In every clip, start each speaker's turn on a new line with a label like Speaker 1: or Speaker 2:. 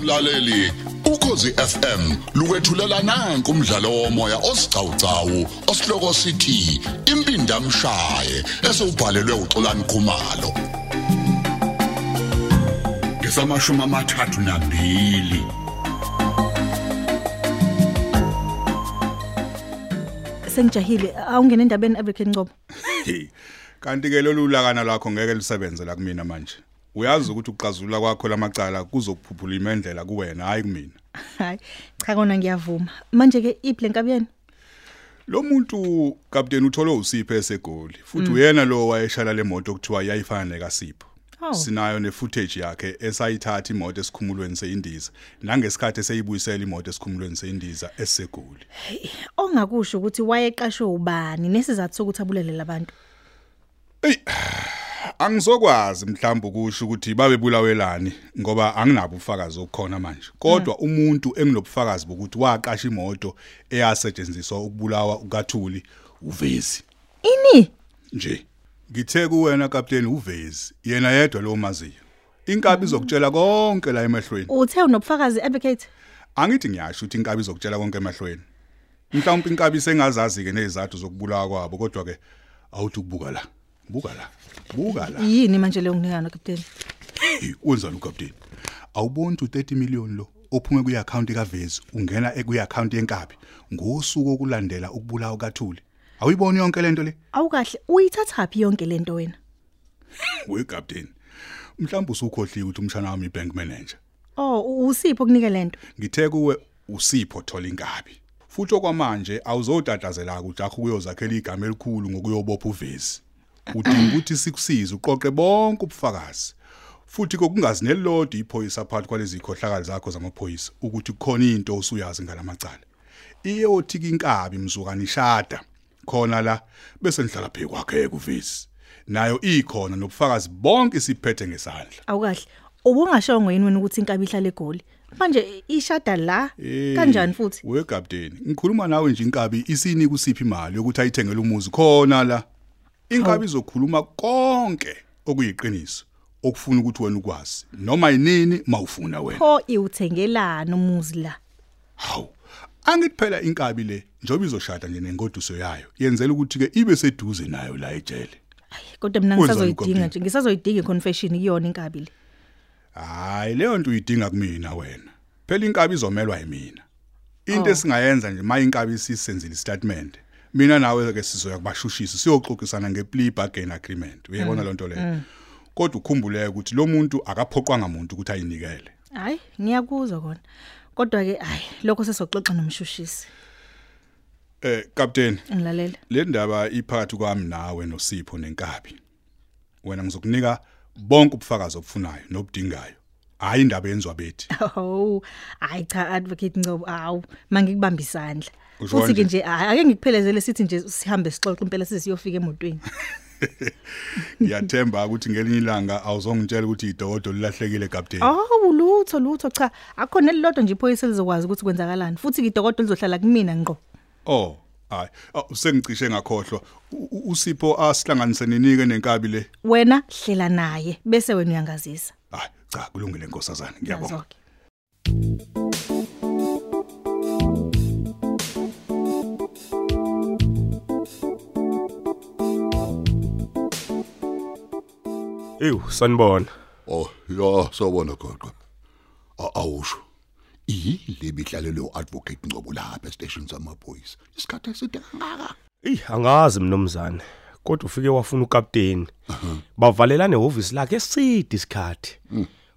Speaker 1: mlaleli ukhosi FM lukwethulela nanku umdlalo womoya osiqhawqhawo osihloko sithi impinda mshaye esubhalelwe uXolani Khumalo ngesamashumi amathathu nambili
Speaker 2: sengijahile awungena endabeni African Ncobo
Speaker 3: Hey. Kanti ke lolulakana lakho ngeke lisebenze la kumina manje. Uyazi ukuthi uqazulula kwakho lamacala kuzokuphuphula imendlela kuwena hayi kumina.
Speaker 2: hayi cha kona ngiyavuma manje ke iblank abuyena
Speaker 3: Lo muntu kapteni uthole usiphe esegoli futhi uyena lo wayeshala le moto okuthiwa yayifana kaSipho.
Speaker 2: Oh.
Speaker 3: Sinayo ne footage yakhe esayithatha imoto esikhumulweni seindiza nangesikhathi eseyibuyisela imoto esikhumulweni seindiza esegoli.
Speaker 2: ongakusho ukuthi wayeqashwe ubani nesizathu sokuthi abulele labantu
Speaker 3: Angizokwazi mhlawumbe ukusho ukuthi babebulawelani ngoba anginabo ufakazi okukhona manje. Kodwa umuntu enginobufakazi bokuthi waqasha imoto eyasetshenziswa ukubulawa ukaThuli uvezi
Speaker 2: ini
Speaker 3: nje. Ngithe kuwena kapteni uvezi yena yedwa lo maziyo. Inkabi izokutshela konke la emehlweni.
Speaker 2: uthe unobufakazi advocate
Speaker 3: Angithi ngiyasho ukuthi inkabi izokutshela konke emehlweni. Mhlawumbe inkabi sengazazi ke nezizathu zokubulawa kwabo kodwa ke awuthi ukubuka la. Buka la. Buka la.
Speaker 2: yini manje leyo nginikana kapteni
Speaker 3: Hey, wenzani ukapteni? Awuboni u 30 million lo ophume kwi-account kaVezi ungena ekwi-account yenkabi ngosuku okulandela ukubulawa kaThuli. Awuyiboni yonke lento le?
Speaker 2: awukahle uyithathaphi yonke lento wena
Speaker 3: We captain. Mhlawumbe usukhohliwe ukuthi umshana wami ibank manager.
Speaker 2: oh u- usipho kunike lento
Speaker 3: Ngithe kuwe usipho thola inkabi. Futhi okwamanje awuzodatazela ukujakho kuyozakhela igama elikhulu ngokuyobopha uVezi. Udinga ukuthi sikusize uqoqe bonke ubufakazi. Futhi kokungazi nelodi iphoyisa phakathi kwalezi khohlakali zakho zamaphoyisa ukuthi kukhona into osuyazi ngalamacala. Iyothi inkabi mzukani shada khona la bese ndlala phe kwakhe kuVezi. Nayo ikhona nobufakazi bonke siphethe ngesandla.
Speaker 2: awukahle ubungashongo yini wena ukuthi inkabi ihlale egoli manje ishada la
Speaker 3: Eh.
Speaker 2: kanjani futhi
Speaker 3: We captain, ngikhuluma nawe nje inkabi isinika usiphi imali yokuthi ayithengele umuzi khona la. Inkabi izokhuluma konke okuyiqiniso okufuna ukuthi wena ukwazi noma yinini mawufuna wena.
Speaker 2: pho iwuthengelana umuzi la
Speaker 3: Hawu. Angithi phela inkabi le njengoba izoshada nje nengoduso yayo yenzela ukuthi ke ibe seduze nayo la ejele.
Speaker 2: kodwa mina
Speaker 3: Wenzani
Speaker 2: ngisazoyidinga
Speaker 3: uKapteni?
Speaker 2: nje ngisazoyidinga iconfession kuyona inkabi le
Speaker 3: Hayi leyo nto uyidinga kumina wena. Phela inkabi izomelwa yimina. Into esingayenza nje maye inkabi isisenzile istatement. Mina nawe ke sizoya kubashushisa siyoxoxisana ngeplea bargain agreement. Uyabona lonto leyo. Kodwa ukhumbule ukuthi lo muntu akaphoqwa ngamuntu ukuthi ayinikele.
Speaker 2: hayi ngiyakuzwa kona kodwa ke hayi lokho sesoxoxa nomshushisi
Speaker 3: Eh captain,
Speaker 2: ngilalela
Speaker 3: le ndaba iphakathi kwami nawe noSipho nenkabi. Wena ngizokunika bonke ubufakazi obufunayo nobudingayo. Hayi indaba yenziwa bethi.
Speaker 2: oh hayi cha advocate Ngcobo awu mangikubamba isandla
Speaker 3: Usho
Speaker 2: futhi ke
Speaker 3: kanje?
Speaker 2: nje hayi ake ngikuphelezele sithi nje sihambe sixoxe impela sisiyofika emotweni
Speaker 3: Ngiyathemba ukuthi ngelinye ilanga awuzongitshela ukuthi idokodo lilahlekile captain.
Speaker 2: awu lutho lutho cha akukhona elilodwa nje iphoyisa elizokwazi ukuthi kwenzakalani futhi ke idokodo lizohlala kumina ngqo
Speaker 3: Oh, hayi. Ah, Sengicishe ngakhohlwa. U- u- Usipho asihlanganise ninike nenkabi le.
Speaker 2: wena hlela naye bese wena uyangazisa
Speaker 3: Hayi, cha kulungile nkosazana. Ngiyabonga.
Speaker 2: Nazo-ke.
Speaker 4: Ew, sanibona.
Speaker 1: oh yo sawona gogo A- awusho yile bihlalelo advocate Ngcobo lapha estation samaphoyisa isikhathe eside kangaka
Speaker 4: Ey, angazi mnumzane. Kodwa ufike wafuna ukapteni. Bavalelane ehhovisi lakhe esidi isikhathi.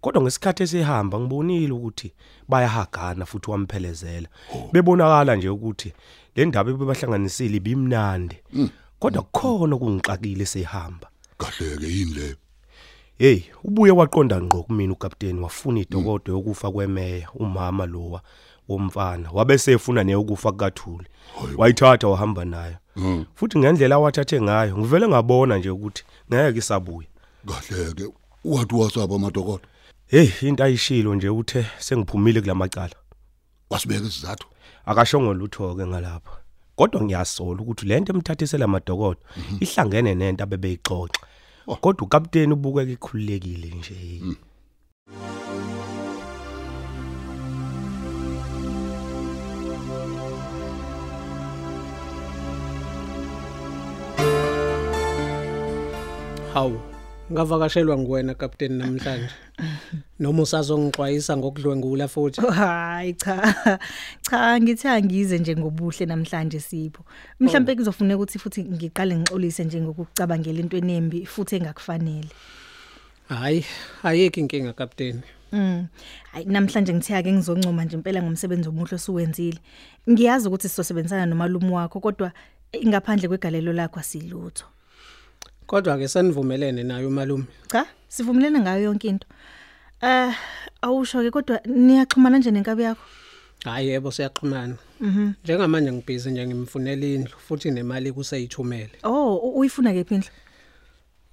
Speaker 4: Kodwa ngesikhathi esehamba ngibonile ukuthi bayahagana futhi wamphelezela. Bebonakala nje ukuthi le ndaba ebebahlanganisile ibimnandi. Kodwa kukhona okungixakile sehamba.
Speaker 1: kahleke yini le
Speaker 4: Hey, ubuye waqonda ngqo kumina ukapteni wafuna idokodo yokufa kwemeya umama lowa womfana wabese efuna neyokufa kukathuli. Wayithatha wahamba nayo.
Speaker 1: Hmm,
Speaker 4: Futhi ngendlela awathathe ngayo ngivele ngabona nje ukuthi ngeke isabuye.
Speaker 1: kahleke wathi wasaba amadokodo
Speaker 4: Hey, into ayishilo nje uthe sengiphumile kulamacala.
Speaker 1: wasibeka isizathu
Speaker 4: Akashongo lutho ke ngalapha. Kodwa ngiyasola ukuthi lento emthathisela amadokodo ihlangene nento abebeyixoxa. Kodwa ukapteni ubukeka ikhululekile nje.
Speaker 5: Hawu. Ngavakashelwa nguwena captain namhlanje. Noma usazongixwayisa ngokudlwengula futhi.
Speaker 2: Hayi cha. Cha ngithi angize nje ngobuhle namhlanje Sipho. Mhlawumbe kuzofuneka ukuthi futhi ngiqale ngixolise nje ngokucabangela into enembi futhi engakufanele.
Speaker 5: Hayi, ayikho inkinga captain.
Speaker 2: Mm. Hayi namhlanje ngithe ake ngizoncoma nje impela ngomsebenzi omuhle osuwenzile. Ngiyazi ukuthi sizosebenzisana nomalume wakho kodwa eh, ngaphandle kwegalelo lakho asilutho.
Speaker 5: Kodwa ke sanivumelene naye umalume.
Speaker 2: Cha, sivumelene ngayo yonke into. Eh, awusho ke kodwa niyaxhumana nje nenkabi yakho.
Speaker 5: Hayi yebo siyaxhumana. Mhm. Njengamanje ngibhizi nje ngimfunela indlu futhi nemali kuseyithumele.
Speaker 2: Oh, u- uyifuna ke phindle.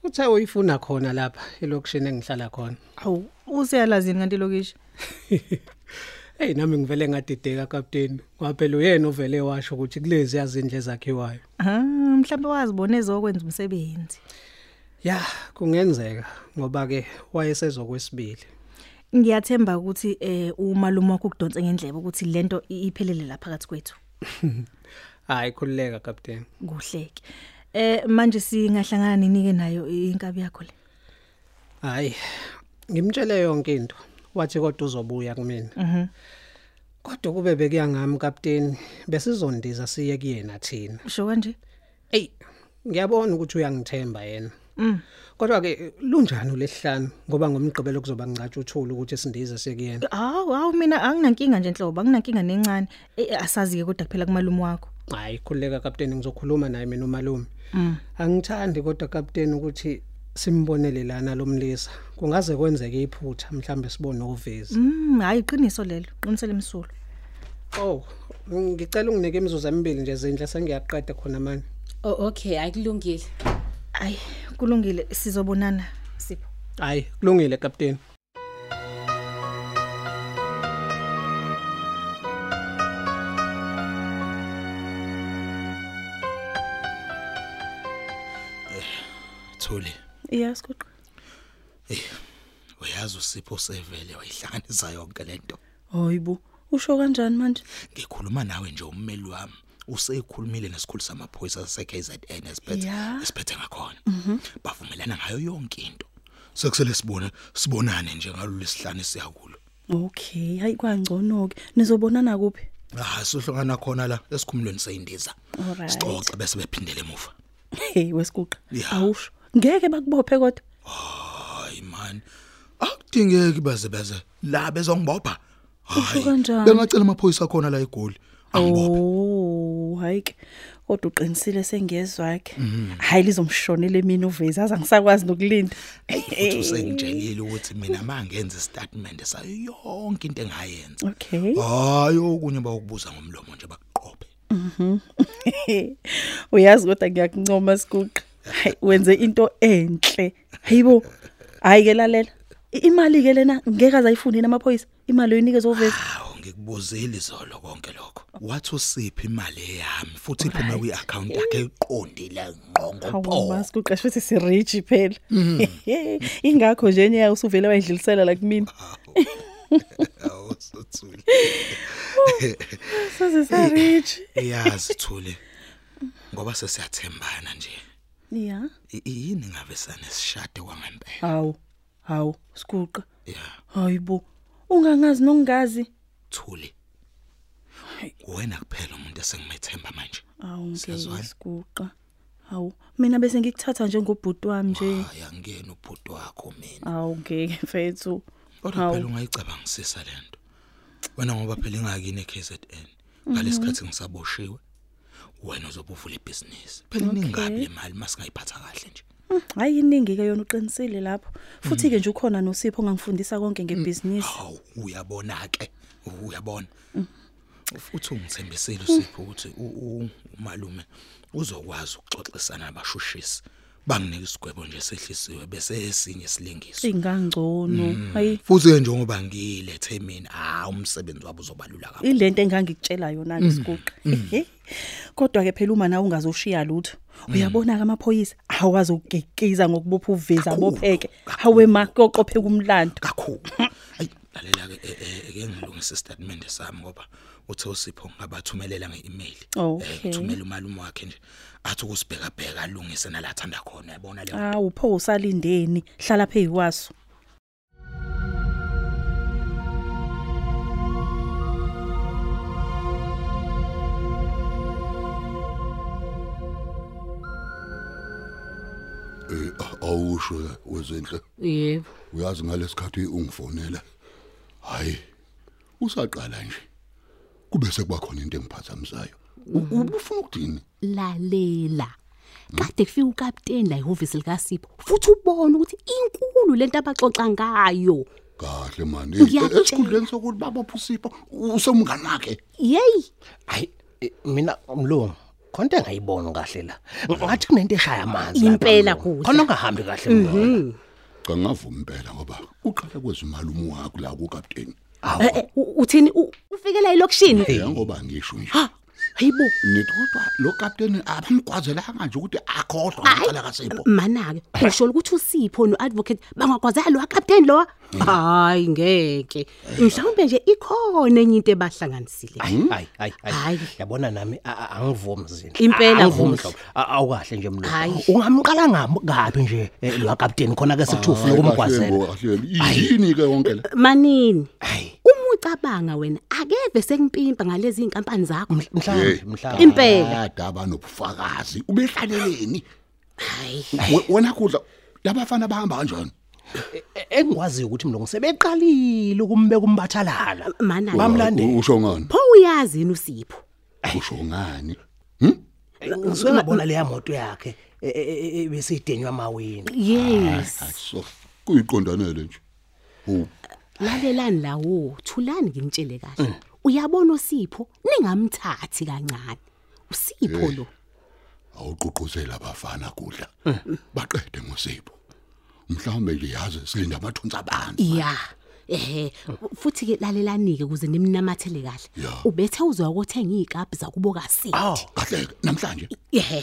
Speaker 5: Uthe uyifuna khona lapha elokishini engihlala khona.
Speaker 2: Awu, usiyalazini kanti lokisho.
Speaker 5: Hey nami ngivele ngadideka captain. Ngaphela uyena ovele washo ukuthi kulezi yazindle zakhiwayo.
Speaker 2: Ah, mhlawumbe wazibona ezokwenza umsebenzi.
Speaker 5: Ya, kungenzeka ngoba ke wayesezokwesibili.
Speaker 2: Ngiyathemba ukuthi eh umalume wakho ukudonse ngendlebe ukuthi lento i- iphelele lapha kathi kwethu.
Speaker 5: Hayi khulileka captain.
Speaker 2: Kuhleke. Eh manje singahlangana ninike nayo inkabi yakho le.
Speaker 5: Hayi. Ngimtshele yonke into. Wathi kodwa uzobuya kumina. Mhm. Kodwa kube bekuya ngami captain besizondiza siye kuyena thina.
Speaker 2: Sho kanje?
Speaker 5: Ey, ngiyabona ukuthi uyangithemba yena. Mm. Kodwa ke lunjani lesihlanu ngoba ngomgqibelo kuzoba ngicatsha uthulu ukuthi sindize sekuyena.
Speaker 2: Hawu, hawu mina anginankinga nje enhlobo, anginankinga nencane. Eh, Asazi ke kodwa kuphela kumalume wakho.
Speaker 5: Hayi, khuleka captain ngizokhuluma naye mina umalume. Mm. Angithandi kodwa captain ukuthi simbonele lana lomlisa. Kungaze kwenzeke iphutha mhlambe sibone uvezi. Mm.
Speaker 2: Mm, hayi iqiniso lelo. Qinisele imsulo.
Speaker 5: Oh, ngicela unginike imizuzu emibili nje zindla sengiyaqeda khona manje.
Speaker 6: Oh okay akulungile.
Speaker 2: Ayi, kulungile sizobonana Sipho.
Speaker 5: Hayi, kulungile captain.
Speaker 7: Thuli,
Speaker 8: Yes kuqo.
Speaker 7: uyazi usipho sevele wayihlanganisa yonke lento.
Speaker 8: Hayibo. Usho kanjani manje?
Speaker 7: Ngikhuluma nawe nje ummeli wami. Useyikhulumile nesikhulu samaphoyisa sase-KZN esiphethe
Speaker 8: Ya. Mhm.
Speaker 7: esiphethe ngakhona. Bavumelana ngayo yonke into. Sekusele sibone sibonane nje ngalolu sihlanu siya kulo.
Speaker 8: Okay, hayi kwangcono ke. Nizobonana kuphi?
Speaker 7: Ah, sihlongana khona la esikhumulweni seyindiza.
Speaker 8: Alright.
Speaker 7: Sixoxe bese bephindele emuva.
Speaker 8: Hey wesikuqa.
Speaker 7: Ya.
Speaker 8: Awusho. Ngeke bakubophe kodwa.
Speaker 7: Hayi man. Akudingeki baze beze la bezongibopha.
Speaker 8: Usho kanjani?
Speaker 7: Bengacela amaphoyisa khona la egoli. Angibophe.
Speaker 8: Oh, hayi ke. Kodwa uqinisile sengiyezwa ke.
Speaker 7: Mhm.
Speaker 8: Hayi lizomshonela mina uvezi aza ngisakwazi nokulinda.
Speaker 7: Futhi usengitshelile ukuthi mina mangenza istatement sayo yonke into engayenza.
Speaker 8: Okay.
Speaker 7: Hayi okunye bawukubuza ngomlomo nje bakuqophe.
Speaker 8: Uyazi kodwa ngiyakuncoma sikuqa. Hayi wenze into enhle. Hayibo. Hayi ke lalela. I- Imali ke lena ngeke azayifuni namaphoyisa. Imali oyinikeza uvezi.
Speaker 7: Hawu ngikubuzeli zolo konke lokho. Wathi usiphi imali eyami futhi iphume kwi-account yakhe eqondile ngqongo
Speaker 8: Hawu
Speaker 7: pho. Mm-hmm.
Speaker 8: masku qasho ukuthi sirich phela. Ingakho nje nje usuvele wayidlilisela la kimi.
Speaker 7: Hawu sothule.
Speaker 8: Saze sarich.
Speaker 7: Iyazi thule. Ngoba sesiyathembana nje.
Speaker 8: Yeah.
Speaker 7: I- i- Yini ngabe sanesishade kwangempela.
Speaker 8: Hawu. Hawu skuqa.
Speaker 7: Yeah,
Speaker 8: Hayibo. Ungangazi nongazi.
Speaker 7: thule. Wena kuphela umuntu esengimethemba manje.
Speaker 8: Hawu
Speaker 7: Siyazwana.
Speaker 8: ngeke skuqa. Hawu mina bese ngikuthatha njengobhuti wami nje.
Speaker 7: Hayi angena ubhuti wakho mina.
Speaker 8: Hawu ngeke mfethu.
Speaker 7: Kodwa phela ungayicabangisisa lento. Wena ngoba phela ingakini eKZN. Ngalesikhathi ngisaboshiwe. Wena uzobuvula ibhizinisi. Phela ningabi imali masingayiphatha kahle nje.
Speaker 8: Hayi Hmm, iningi ke yona uqinisile lapho. Futhi ke nje ukhona noSipho ongangifundisa konke ngebusiness.
Speaker 7: Hawu uyabona ke. Uyabona. Futhi ungithembisile usipho ukuthi u- u- umalume uzokwazi ukuxoxisana nabashushisi. Banginike isigwebo nje sehlisiwe bese esinye silingiswe. Mm.
Speaker 8: Ingangcono. Hayi
Speaker 7: Futhi ke njengoba ngilethe mina, ah umsebenzi wabo uzobalula kakhulu.
Speaker 8: ilento engangikutshela yona
Speaker 7: Mm.
Speaker 8: isiguqa kodwa ke phela uma nawe ungazoshiya lutho
Speaker 7: Mm.
Speaker 8: uyabona ke amaphoyisa awazogekiza ngokubopha uveza
Speaker 7: Kakhulu,
Speaker 8: bopheke
Speaker 7: kakhulu.
Speaker 8: hawe makoqopheka umlando
Speaker 7: kakhulu ayi lalela ke ngilungisa istatement sami ngoba uthe usipho ngabathumelela nge-email
Speaker 8: Okay.
Speaker 7: uthumela umalume wakhe nje athi ukusibhekabheka alungise nalathanda khona yabona leyo
Speaker 8: Ah upho usalindeni hlala phezu kwaso
Speaker 1: eh awusho wezenhle
Speaker 6: yebo
Speaker 1: uyazi ngalesikhathi ungifonela hayi usaqala nje kube sekuba khona into engiphazamisayo U- ubufuna ukuthini
Speaker 9: lalela kade kufika ukapteni la ihhovisi likasipho futhi ubone ukuthi inkulu lento abaxoxa ngayo
Speaker 1: kahle mani
Speaker 9: Ngiyakutshela.
Speaker 1: esikhundleni sokuthi baba phusipho usomngane wakhe
Speaker 9: yeyi
Speaker 10: hayi eh, mina mlungu khona into engayiboni kahle la ngathi kunento eshaya amanzi
Speaker 9: Impela
Speaker 10: lapha, Mlungu.
Speaker 9: kuhle.
Speaker 10: khona ungahambi kahle mlungu
Speaker 1: cha ngavuma impela ngoba uqala kwezimali umwakho la kukapteni
Speaker 9: Eh, eh, u- uthini U- ufikela elokishini
Speaker 1: yangoba ngisho nje
Speaker 9: hayibo
Speaker 1: nithi kodwa lo kapteni abamgwazelanga nje ukuthi akhohlwa ngicela kasipho
Speaker 9: Mm. mana-ke usho ukuthi usipho no-advocate bangagwazela lowa kapteni lowa hayi ngeke mhlawumbe nje ikhona enye into ebahlanganisile
Speaker 10: hayi hayi
Speaker 9: Hayi.
Speaker 10: hayi yabona nami a- a- angivumi zinhle
Speaker 9: Impela
Speaker 10: angivumi
Speaker 9: kuhle.
Speaker 10: hlobo A- awukahle nje mlungu
Speaker 9: Hayi.
Speaker 10: ungamqala ngabi kabi nje eh, lo kapteni khona ke sekuthi
Speaker 7: Ah,
Speaker 10: ufuna ukumgwazela
Speaker 1: yini ke yonke la
Speaker 9: manini
Speaker 10: hayi
Speaker 9: uma ucabanga wena akeve sekumpimpa ngalezi iy'nkampani zakho
Speaker 1: Hey,
Speaker 10: mhlawumbe mhlawumbe
Speaker 9: Impela.
Speaker 1: Kade abanobufakazi ubehlaleleni
Speaker 9: hayi
Speaker 1: We- wena kudla labafana bahamba kanjani
Speaker 10: E- engikwaziyo ukuthi mlungu sebeqalile ukumbeka umbathalala
Speaker 9: Mana-ke.
Speaker 10: bamlandela
Speaker 1: U- usho ngani
Speaker 9: pho uyazi yini usipho
Speaker 1: usho ngani
Speaker 10: Eh, ngisuke ngabona leya moto yakhe e- e- e- e- bese idenywa amawindi
Speaker 9: yes
Speaker 1: aso kuyiqondanele nje Oh,
Speaker 9: lalelani lawo thulani ngimtshele kahle uyabona usipho ningamthathi kancane usipho lo
Speaker 1: awuququzela abafana kudla baqede ngosipho mhlawumbe nje yazi silinda amathunzi abantu
Speaker 9: ya ehe futhi ke lalelani-ke ukuze nimnamathele kahle
Speaker 1: Ya.
Speaker 9: ubethe uzwa ukuthenga iy'kabhi zakubo
Speaker 7: Ah.
Speaker 9: kasindi
Speaker 1: kahle ke namhlanje
Speaker 9: ehe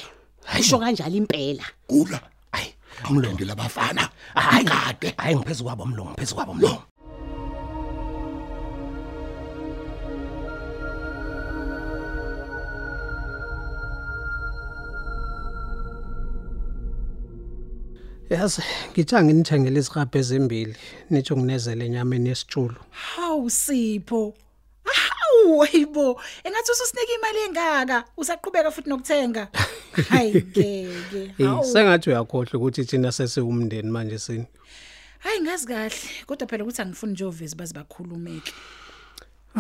Speaker 9: usho kanjalo impela
Speaker 1: kula
Speaker 10: hayi
Speaker 1: umlando labafana
Speaker 10: hayi kade hayi ngiphezu kwabo mlungu ngiphezu kwabo mlungu
Speaker 5: yazi ngitha nginithengele isihabhe ezimbili nitsho nginezele enyameni yesitshulu
Speaker 11: Hawu Sipho. Hawu hayibo. Engathi ususinike imali engaka, usaqhubeka futhi nokuthenga. Hayi ngeke.
Speaker 5: Eh, sengathi uyakhohlwa ukuthi thina sesiwumndeni manje sini
Speaker 11: Hayi ngazi kahle, kodwa phela ukuthi angifuni nje ovezi baze bakhulumeke.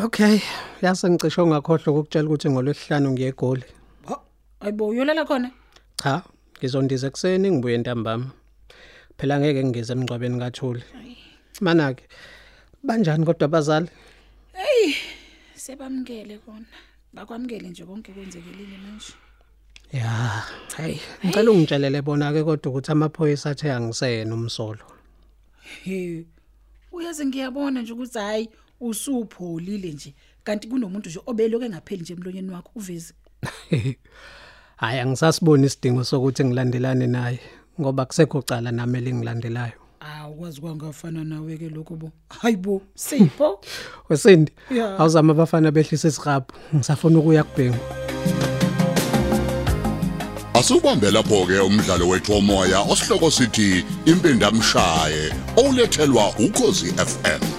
Speaker 5: okay yase ngicishe ungakhohlwa ukukutshela ukuthi ngolwesihlanu ngiye egoli
Speaker 11: Hayibo, uyolala khona?
Speaker 5: cha ngizondiza ekuseni ngibuye entambama phela ngeke ngize emngcwabeni kathuli mana-ke banjani kodwa abazali
Speaker 11: Sebamkele kona. Bakwamkele nje konke kwenzekelile manje.
Speaker 5: ya hayi ngicela ungitshelele bona-ke kodwa ukuthi amaphoyisa athe angisena umsolo
Speaker 11: He. Uyazi ngiyabona nje ukuthi hayi usupholile nje. Kanti kunomuntu nje obeloke ngapheli nje emlonyeni wakho uvezi.
Speaker 5: hhayi angisasiboni isidingo sokuthi ngilandelane naye ngoba kusekho cala nami elingilandelayo
Speaker 11: Awukwazi kwangafana nawe ke lokho bo. Hayibo, Sipho.
Speaker 5: wesindi
Speaker 11: Ya.
Speaker 5: awuzama abafana behlise isigrabhu ngisafuna ukuya kubhengu
Speaker 1: Asubambe lapho ke umdlalo wethu omoya osihloko sithi impindamshaye olethelwa ukozi FM.